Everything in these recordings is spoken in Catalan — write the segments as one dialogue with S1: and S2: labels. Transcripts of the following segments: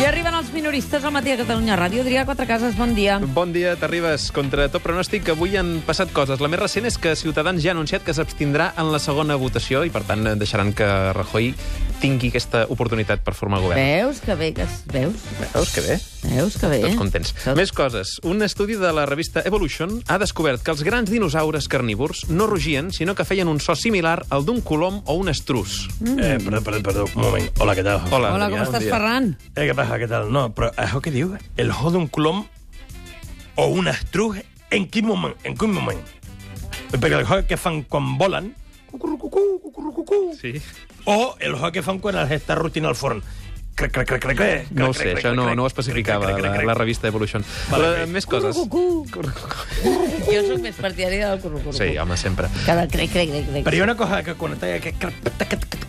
S1: Ja arriben els minoristes al matí a Catalunya Ràdio. Adrià Quatre Cases, bon dia.
S2: Bon dia, t'arribes. Contra tot pronòstic, avui han passat coses. La més recent és que Ciutadans ja ha anunciat que s'abstindrà en la segona votació i, per tant, deixaran que Rajoy tingui aquesta oportunitat per formar govern.
S1: Veus que bé que... es- Veus?
S2: Veus que bé?
S1: Veus que bé?
S2: Tots contents.
S1: Tot-
S2: Més coses. Un estudi de la revista Evolution ha descobert que els grans dinosaures carnívors no rugien, sinó que feien un so similar al d'un colom o un estrus.
S3: Eh, perdó, perdó, perdó, un moment. Hola, què tal?
S2: Hola,
S1: Hola,
S2: Adrià,
S1: com
S2: bon
S1: estàs,
S2: dia.
S1: Ferran?
S3: Eh, què passa, què tal? No, però això que diu, el jo d'un colom o un estruç, en quin moment? En quin moment? Perquè el jo que fan quan volen, cucurrucucú, cucurrucucú,
S2: Sí.
S3: o el jo que fan quan els està rutint al forn. Crec, crec, crec, crec, crec.
S2: No ho sé, això no, no ho especificava la, la revista Evolution.
S3: Vale,
S2: La,
S3: bé.
S2: més coses.
S1: Cucu. Jo sóc més partidària del currucurru.
S2: Sí, home, sempre.
S1: Que del crec, crec, crec, crec.
S3: Però hi ha una cosa que quan està... Que, que, que, que, que, que,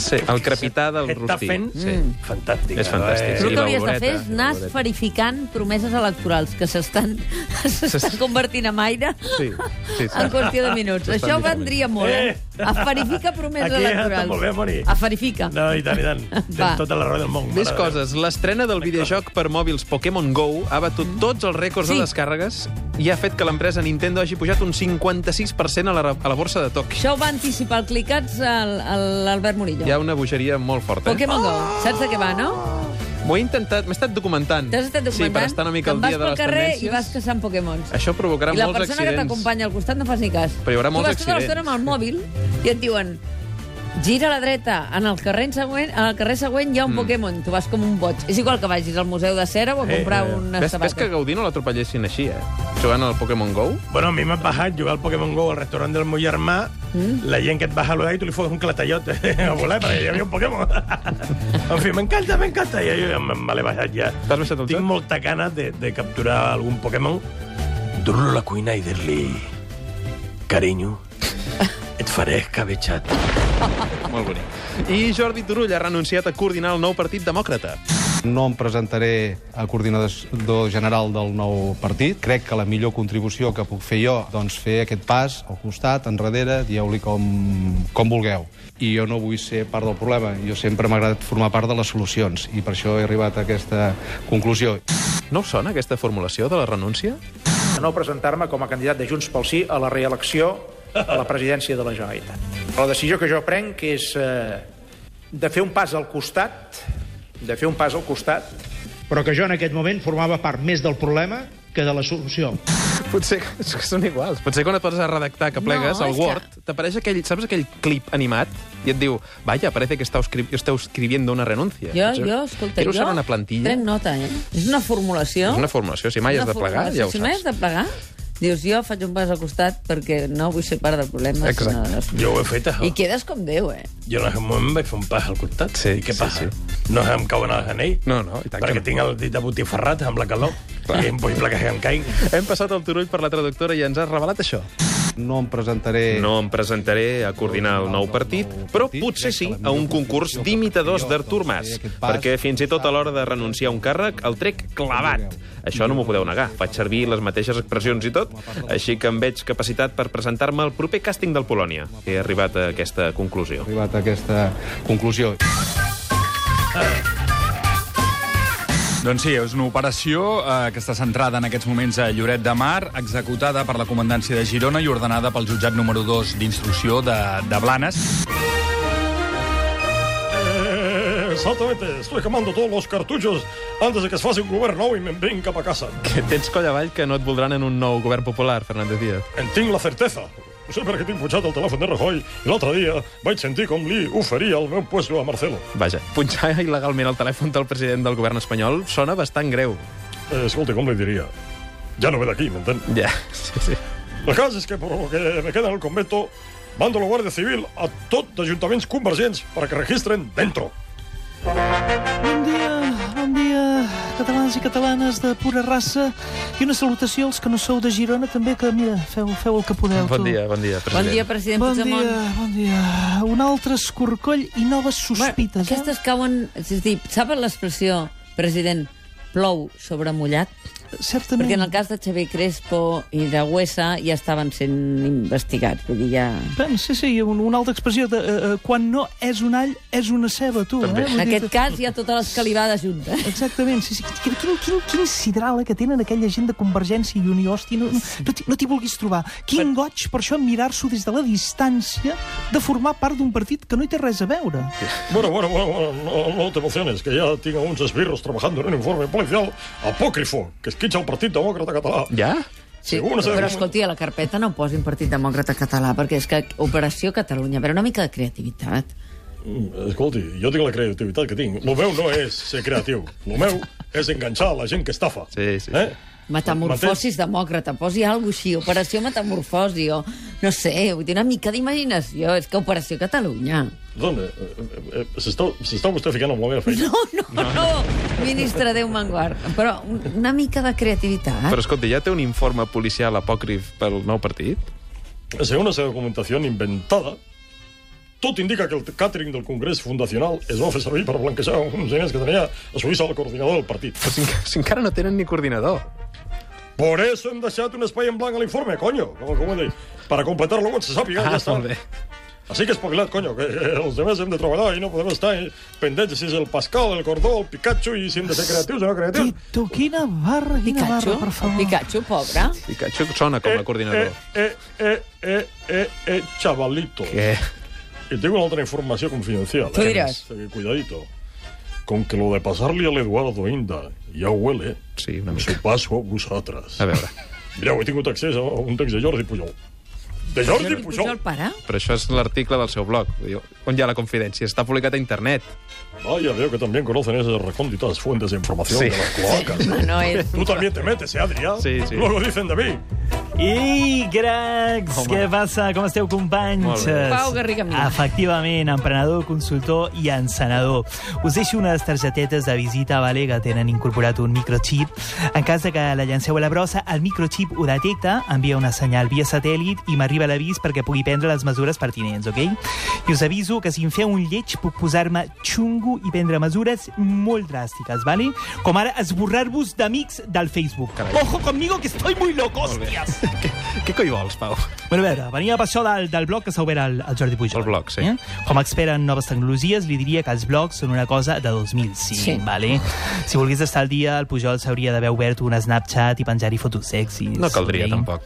S2: Sí, el crepitar del
S3: Està
S2: rostí.
S3: fent
S2: Sí.
S3: fantàstic.
S2: És fantàstic,
S3: eh?
S1: Tu el que
S2: Sí, la
S1: hauries de
S2: voreta,
S1: fer és
S2: la
S1: anar
S2: voreta.
S1: esferificant promeses electorals que s'estan s'estan convertint en aire
S2: Sí, sí, sí.
S1: en qüestió de minuts.
S2: S'estan
S1: Això
S2: difumint.
S1: vendria molt, eh?
S3: Eh!
S1: Esferifica promeses
S3: Aquí
S1: electorals.
S3: està molt bé, Moni.
S1: Esferifica.
S3: No, i tant, i tant.
S1: Va.
S3: Tens tota la raó del món.
S2: Més
S3: mare de Déu.
S2: coses. L'estrena del videojoc per mòbils Pokémon GO ha batut tots els rècords
S1: Sí.
S2: de descàrregues i ha fet que l'empresa Nintendo hagi pujat un 56% a la, a la borsa de Tòquio.
S1: Això ho va anticipar el Clicats al- a l'Albert Murillo.
S2: Hi ha una bogeria molt forta. Eh?
S1: Pokémon Go, saps de què va, no?
S2: M'ho he intentat... M'he estat documentant.
S1: T'has estat documentant?
S2: Sí, per estar una mica al
S1: Te'n
S2: dia de les
S1: vas pel carrer
S2: tendències.
S1: i vas caçant Pokémons.
S2: Això provocarà
S1: I la
S2: molts
S1: persona
S2: accidents.
S1: que t'acompanya al costat no faci ni cas.
S2: Però hi haurà molts
S1: tu vas tota l'estona
S2: accidents.
S1: amb el mòbil i et diuen gira a la dreta, en el carrer següent, en el carrer següent hi
S2: Mm.
S1: ha un Pokémon, tu vas com un boig. És igual que vagis al Museu de Cera o a
S3: Eh,
S1: comprar
S3: eh,
S1: una
S2: Ves, ves que
S1: sabata.
S2: Gaudí no l'atropellessin així, eh? Jugant al Pokémon GO.
S3: Bueno, a mi m'ha passat jugar al Pokémon GO al restaurant del meu germà, mm? la gent que et baja l'odat i tu li fots un clatallot a volar, perquè hi havia un Pokémon. en fi, m'encanta, m'encanta, i jo ja me, me l'he baixat ja.
S2: T'has baixat el
S3: Tinc
S2: joc?
S3: molta gana de, de capturar algun Pokémon, dur-lo a la cuina i dir-li... Carinyo, et faré escabetxat.
S2: Molt bonic. I Jordi Turull ha renunciat a coordinar el nou partit demòcrata.
S4: No em presentaré a coordinador general del nou partit. Crec que la millor contribució que puc fer jo, doncs fer aquest pas al costat, enrere, dieu-li com, com vulgueu. I jo no vull ser part del problema. Jo sempre m'ha agradat formar part de les solucions i per això he arribat a aquesta conclusió.
S2: No us sona aquesta formulació de la renúncia?
S5: de no presentar-me com a candidat de Junts pel Sí a la reelecció a la presidència de la Generalitat. La decisió que jo prenc és eh, de fer un pas al costat, de fer un pas al costat,
S6: però que jo en aquest moment formava part més del problema que de la solució.
S2: Potser que són iguals. Potser quan et poses a redactar, que plegues
S1: No,
S2: no, al
S1: és
S2: Word, que... t'apareix aquell, saps aquell clip animat i et diu, vaya, parece que esteu, escri esteu escribiendo una renuncia.
S1: Jo,
S2: Potser-
S1: jo, escolta,
S2: Quiero
S1: jo
S2: usar una plantilla.
S1: prenc nota, eh? És una formulació.
S2: És una formulació, si mai
S1: Una
S2: has de plegar,
S1: formulació.
S2: ja ho
S1: Si mai has
S2: saps.
S1: de plegar, dius, jo faig un pas al costat perquè no vull ser part del problema.
S2: Exacte.
S1: sinó de les-
S3: Jo ho he fet, això.
S1: I quedes com Déu, eh?
S3: Jo en aquest moment vaig fer un pas al costat.
S2: Sí,
S3: I què
S2: sí,
S3: passa? No em cauen al genell?
S2: No, no, i tant que
S3: Perquè
S2: no.
S3: tinc el dit abotifarrat amb la calor. I és impossible que em caigui.
S2: Hem passat el Turull per la traductora i ens has revelat això.
S4: No em presentaré...
S2: No em presentaré a coordinar el nou partit, però potser sí a un concurs d'imitadors d'Artur Mas, perquè fins i tot a l'hora de renunciar a un càrrec el trec clavat. Això no m'ho podeu negar, faig servir les mateixes expressions i tot, així que em veig capacitat per presentar-me al proper càsting del Polònia. He arribat a aquesta conclusió.
S4: He arribat a aquesta conclusió.
S7: Doncs sí, és una operació eh, que està centrada en aquests moments a Lloret de Mar, executada per la Comandància de Girona i ordenada pel jutjat número 2 d'instrucció de, de Blanes.
S3: Exactamente, estoy quemando todos los cartuchos antes de que se faci un govern nou i me'n vinc cap a casa.
S2: Que tens coll avall que no et voldran en un nou govern popular, Fernández Díaz.
S3: En tinc la certesa. No sé per què tinc pujat el telèfon de Rajoy i l'altre dia vaig sentir com li oferia el meu puesto a Marcelo.
S2: Vaja, punxar il·legalment el telèfon del president del govern espanyol sona bastant greu.
S3: Eh, escolta, com li diria? Ja no ve d'aquí, m'entén?
S2: Ja, sí, sí.
S3: El cas és que, per lo que me queda en el convento, mando la Guàrdia Civil a tot d'ajuntaments convergents perquè registren dentro.
S8: Bon dia, bon dia, catalans i catalanes de pura raça. I una salutació als que no sou de Girona, també, que, mira, feu, feu el que podeu.
S2: Bon
S8: tu.
S2: dia, bon dia, president.
S1: Bon dia, president
S8: Bon
S1: Puigdemont.
S8: dia, bon dia. Un altre escorcoll i noves sospites,
S1: aquestes
S8: eh?
S1: cauen... És a dir, saben l'expressió, president, plou sobre mullat?
S8: certament...
S1: Perquè en el cas de Xavier Crespo i de Huesa ja estaven sent investigats. Vull dir, ja...
S8: Bueno, sí, sí, hi ha un- una altra expressió. De, eh, eh, quan no és un all, és una ceba, tu.
S2: També.
S8: Eh? Vull
S1: En
S8: dir,
S1: aquest cas hi ha tota l'escalivada junta.
S8: Exactament, sí, sí. Quin, quin, quin, quin sidral eh, que tenen aquella gent de Convergència i Unió, hòstia, no, no, no, t'hi- no t'hi vulguis trobar. Quin goig, per això, mirar-s'ho des de la distància de formar part d'un partit que no hi té res a veure.
S3: Bueno, bueno, bueno, bueno, no, no te emociones, que ya tengo unos esbirros trabajando en un informe policial apócrifo que esquicha el Partit Demòcrata Català.
S2: Ja?
S1: Sí,
S3: Segur, no sé
S1: però
S3: com-
S1: escolti, a la carpeta no posin Partit Demòcrata Català, perquè és que Operació Catalunya, però una mica de creativitat.
S3: Mm, Escolti, jo tinc la creativitat que tinc. Lo meu no és ser creatiu. Lo meu és enganxar la gent que estafa.
S2: Sí, sí, sí.
S3: Eh?
S1: Metamorfosis demòcrata, posi alguna cosa així, Operació Metamorfosi, o no sé, vull dir, una mica d'imaginació, és que Operació Catalunya.
S3: Dona, eh, eh, s'està s'està vostè ficant amb la meva feina?
S1: No, no, no, ministre Déu Manguard, però un- una mica de creativitat.
S2: Però escolta, ja té un informe policial apòcrif pel nou partit?
S3: Según esa documentación inventada, tot indica que el càtering del Congrés Fundacional es va fer servir per blanquejar uns diners que tenia a Suïssa el coordinador del partit.
S2: Però si, enca- si encara no tenen ni coordinador.
S3: Por eso hem deixat un espai en blanc a l'informe, coño. Com, com ho dic? Para completar-lo quan se sàpiga, ja està.
S2: Ah, molt bé.
S3: Així que espavilat, coño, que eh, els demés hem de treballar i no podem estar pendents si és el Pascal, el Cordó, el Pikachu i si hem de ser creatius o no creatius.
S8: Tito, quina barra, quina
S1: Pikachu,
S8: barra, per favor.
S1: Pikachu, pobre.
S2: Pikachu sona com a coordinador.
S3: Eh, eh, eh, eh, eh, eh, chavalito.
S2: Què?
S3: Y tengo una otra información confidencial.
S1: Tú
S3: eh,
S1: dirás.
S3: que- Cuidadito. Con que lo de pasarle al Eduardo Inda ya huele,
S2: Sí, una mica.
S3: su paso a vosotras.
S2: A veure,
S3: Mireu, he tingut accés a un text de Jordi Pujol. De Jordi Pujol!
S1: Pujol, pare?
S2: però això és l'article del seu blog, vull dir, on hi ha la confidència. Està publicat a internet.
S3: Vaya, veo que también conocen esas recónditas fuentes de información
S2: Sí.
S3: de las cloacas.
S1: Ah, No és...
S3: Tú también te metes, ¿eh, Adrián?
S2: Sí, sí.
S3: Luego dicen de mí.
S8: I, cracs, Home. què passa? Com esteu, companys?
S2: Molt bé.
S1: Pau Garriga Mina.
S8: Efectivament, emprenedor, consultor i encenador. Us deixo unes targetetes de visita, vale, que tenen incorporat un microchip. En cas de que la llanceu a la brossa, el microchip ho detecta, envia una senyal via satèl·lit i m'arriba l'avís perquè pugui prendre les mesures pertinents, ok? I us aviso que si em feu un lleig puc posar-me xungo i prendre mesures molt dràstiques, vale? Com ara esborrar-vos d'amics del Facebook. Ojo conmigo que estoy muy loco, hostias!
S2: Què coi vols, Pau?
S8: Bueno, a veure, venia per això del, del blog que s'ha obert el, el Jordi Pujol. eh?
S2: El blog, sí.
S8: Com a expert en noves tecnologies, li diria que els blogs són una cosa de 2005,
S1: Sí.
S8: vale? Si volgués estar al dia, el Pujol s'hauria d'haver obert un Snapchat i penjar-hi fotos sexis.
S2: No caldria,
S8: ok?
S2: tampoc.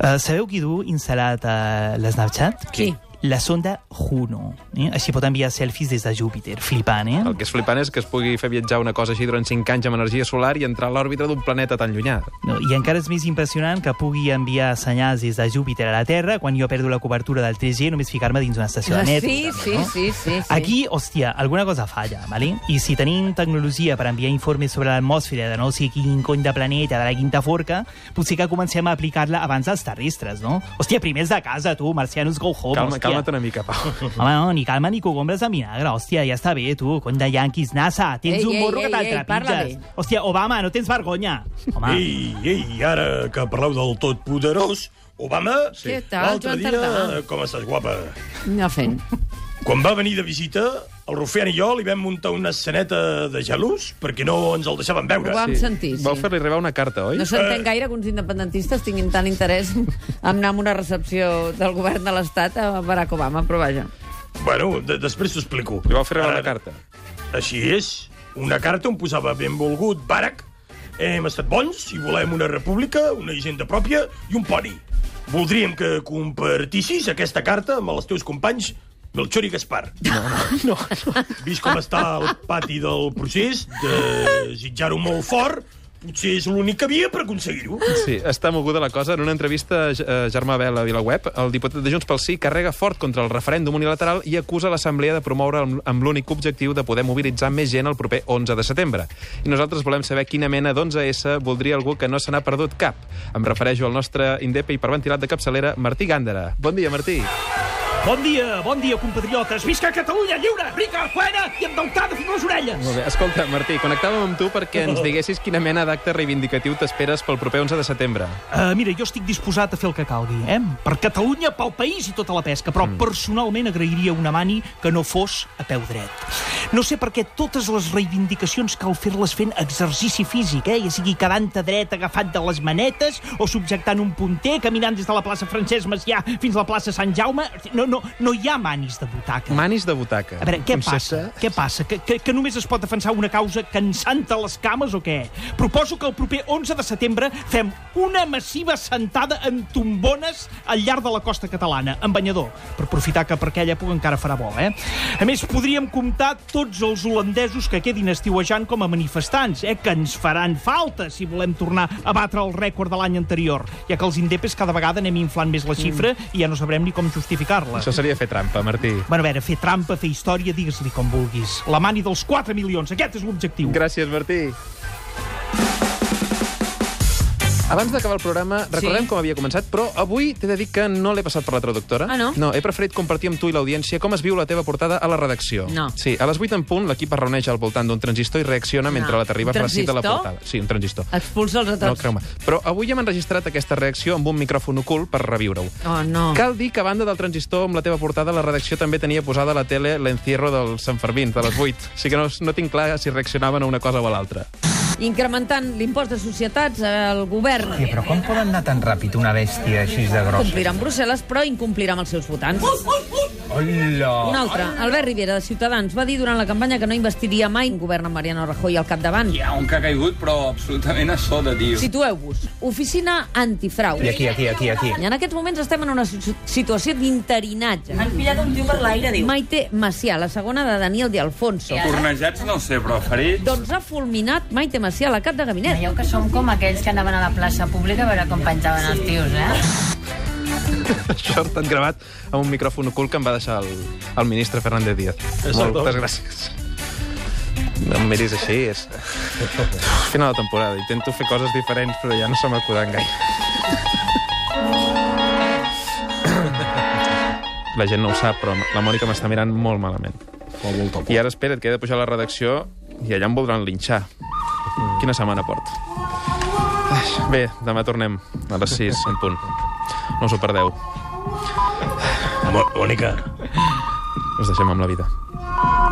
S8: Eh, sabeu qui du instal·lat a l'Snapchat?
S1: Qui?
S8: La sonda Juno. Eh? Així pot enviar selfies des de Júpiter. Flipant, eh?
S2: El que és flipant és que es pugui fer viatjar una cosa així durant 5 anys amb energia solar i entrar a l'òrbita d'un planeta tan llunyà.
S8: No, I encara és més impressionant que pugui enviar senyals des de Júpiter a la Terra quan jo perdo la cobertura del 3G només ficar-me dins una estació de net.
S1: Ah, Sí, sí,
S8: no?
S1: sí, sí, sí.
S8: Aquí, hòstia, alguna cosa falla, vale? I si tenim tecnologia per enviar informes sobre l'atmosfera de no sé quin cony de planeta, de la quinta forca, potser que comencem a aplicar-la abans dels terrestres, no? Hòstia, primers de casa, tu, marcianos go home,
S2: Calma,
S8: hòstia.
S2: calma't una mica, Pau.
S8: Home, no, ni calma ni cogombres de vinagre, hòstia, ja està bé, tu, cony de yanquis, NASA, tens
S1: Ei,
S8: un
S1: ei,
S8: morro
S1: ei,
S8: que
S1: ei, parla bé.
S8: t'altrapitges. Hòstia, Obama, no tens vergonya. Home,
S3: Ei, ei, ara que parleu del tot poderós, Obama,
S1: Sí. Què tal,
S3: l'altre
S1: Joan
S3: dia,
S1: Tardà?
S3: com estàs guapa.
S1: No fent.
S3: Quan va venir de visita, el Rufián i jo li vam muntar una esceneta de gelús perquè no ens el deixaven
S1: Ho
S3: veure.
S1: vam sentir, sí.
S2: Vau fer-li arribar una carta, oi?
S1: No s'entén gaire que uns independentistes tinguin tant interès en anar a una recepció del govern de l'Estat a Barack Obama, però vaja.
S3: Bueno, de després t'ho explico.
S2: Li vau fer arribar
S3: Ara,
S2: una carta.
S3: Així és. Una carta on posava benvolgut Barak, hem estat bons i volem una república, una hisenda pròpia i un poni. Voldríem que compartissis aquesta carta amb els teus companys Melchor i Gaspar. No, no, no. Vist com està el pati del procés, desitjar-ho molt fort, potser és l'única via per aconseguir-ho.
S2: Sí, està moguda la cosa. En una entrevista a Germà Bel a Vilaweb, el diputat de Junts pel Sí carrega fort contra el referèndum unilateral i acusa l'Assemblea de promoure amb- amb l'únic objectiu de poder mobilitzar més gent el proper 11 de setembre. I nosaltres volem saber quina mena d'11S voldria algú que no se n'ha perdut cap. Em refereixo al nostre indepe hiperventilat de capçalera, Martí Gàndara. Bon dia, Martí.
S8: Bon dia, bon dia, compatriotes. Visca Catalunya lliure, rica, plena i endeutada fins a les orelles.
S2: Molt bé. Escolta, Martí, connectàvem amb tu perquè ens diguessis quina mena d'acte reivindicatiu t'esperes pel proper 11 de setembre.
S8: Uh, mira, jo estic disposat a fer el que calgui, eh? Per Catalunya, pel país i tota la pesca, però mm. personalment agrairia una mani que no fos a peu dret. No sé per què totes les reivindicacions cal fer-les fent exercici físic, eh? ja sigui quedant a dret agafat de les manetes o subjectant un punter, caminant des de la plaça Francesc Macià fins a la plaça Sant Jaume. No, no, no hi ha manis de butaca.
S2: Manis de butaca.
S8: A veure, què passa?
S2: Concepte-
S8: Què passa? Que, que, que només es pot defensar una causa cansant a les cames o què? Proposo que el proper 11 de setembre fem una massiva sentada en tombones al llarg de la costa catalana, en banyador, per aprofitar que per aquella època encara farà bo, eh? A més, podríem comptar tots els holandesos que quedin estiuejant com a manifestants, eh? Que ens faran falta si volem tornar a batre el rècord de l'any anterior, ja que els indepes cada vegada anem inflant més la xifra i ja no sabrem ni com justificar-la.
S2: Això seria fer trampa, Martí.
S8: Bueno, a veure, fer trampa, fer història, digues-li com vulguis. La mani dels 4 milions, aquest és l'objectiu.
S2: Gràcies, Martí. Abans d'acabar el programa, recordem
S1: Sí.
S2: com havia començat, però avui t'he de dir que no l'he passat per la traductora.
S1: Ah, no?
S2: No, he preferit compartir amb tu i l'audiència com es viu la teva portada a la redacció.
S1: No.
S2: Sí, a les 8 en punt l'equip es reuneix al voltant d'un transistor i reacciona mentre
S1: No.
S2: la terriba
S1: Ah, Un
S2: recita
S1: transistor?
S2: la
S1: Ah, doncs.
S2: portada. Sí, un transistor.
S1: Expulsa els
S2: No,
S1: atrats.
S2: creu-me. Però avui hem enregistrat aquesta reacció amb un micròfon ocult per reviure-ho.
S1: Oh, no.
S2: Cal dir que a banda del transistor amb la teva portada, la redacció també tenia posada a la tele l'encierro del Sant Fermín, de les 8. Així que no, no tinc clar si reaccionaven a una cosa o a l'altra.
S1: Incrementant l'impost de societats al govern.
S9: Hòstia, però com poden anar tan ràpid una bèstia així de grossa?
S1: Complirà amb Brussel·les, però incomplirà amb els seus votants.
S9: Hola!
S1: Un altre, Albert Rivera, de Ciutadans, va dir durant la campanya que no investiria mai un govern amb Mariano Rajoy al capdavant.
S7: Hi ha un que ha caigut, però absolutament a soda, tio.
S1: Situeu-vos. Oficina antifrau.
S9: I aquí, aquí, aquí, aquí.
S1: I en aquests moments estem en una situ- situació d'interinatge.
S10: Han pillat un tio per l'aire, diu.
S1: Maite Macià, la segona de Daniel De Alfonso.
S7: Tornejats no sé, però ferits.
S1: Doncs ha fulminat Maite Macià, la cap de gabinet.
S10: Veieu que som com aquells que anaven a la plaça pública a veure com penjaven els tios, eh?
S2: Això està gravat amb un micròfon ocult que em va deixar el, el ministre Fernández Díaz. Moltes gràcies. No em miris així, és... Final de temporada. Intento fer coses diferents, però ja no se m'acuden gaire. La gent no ho sap, però la Mònica m'està mirant molt malament. I ara espera't, que he de pujar a la redacció i allà em voldran linxar. Quina setmana porto? Bé, demà tornem a les 6 en punt. No us ho perdeu.
S11: Mònica,
S2: Us deixem amb la vida.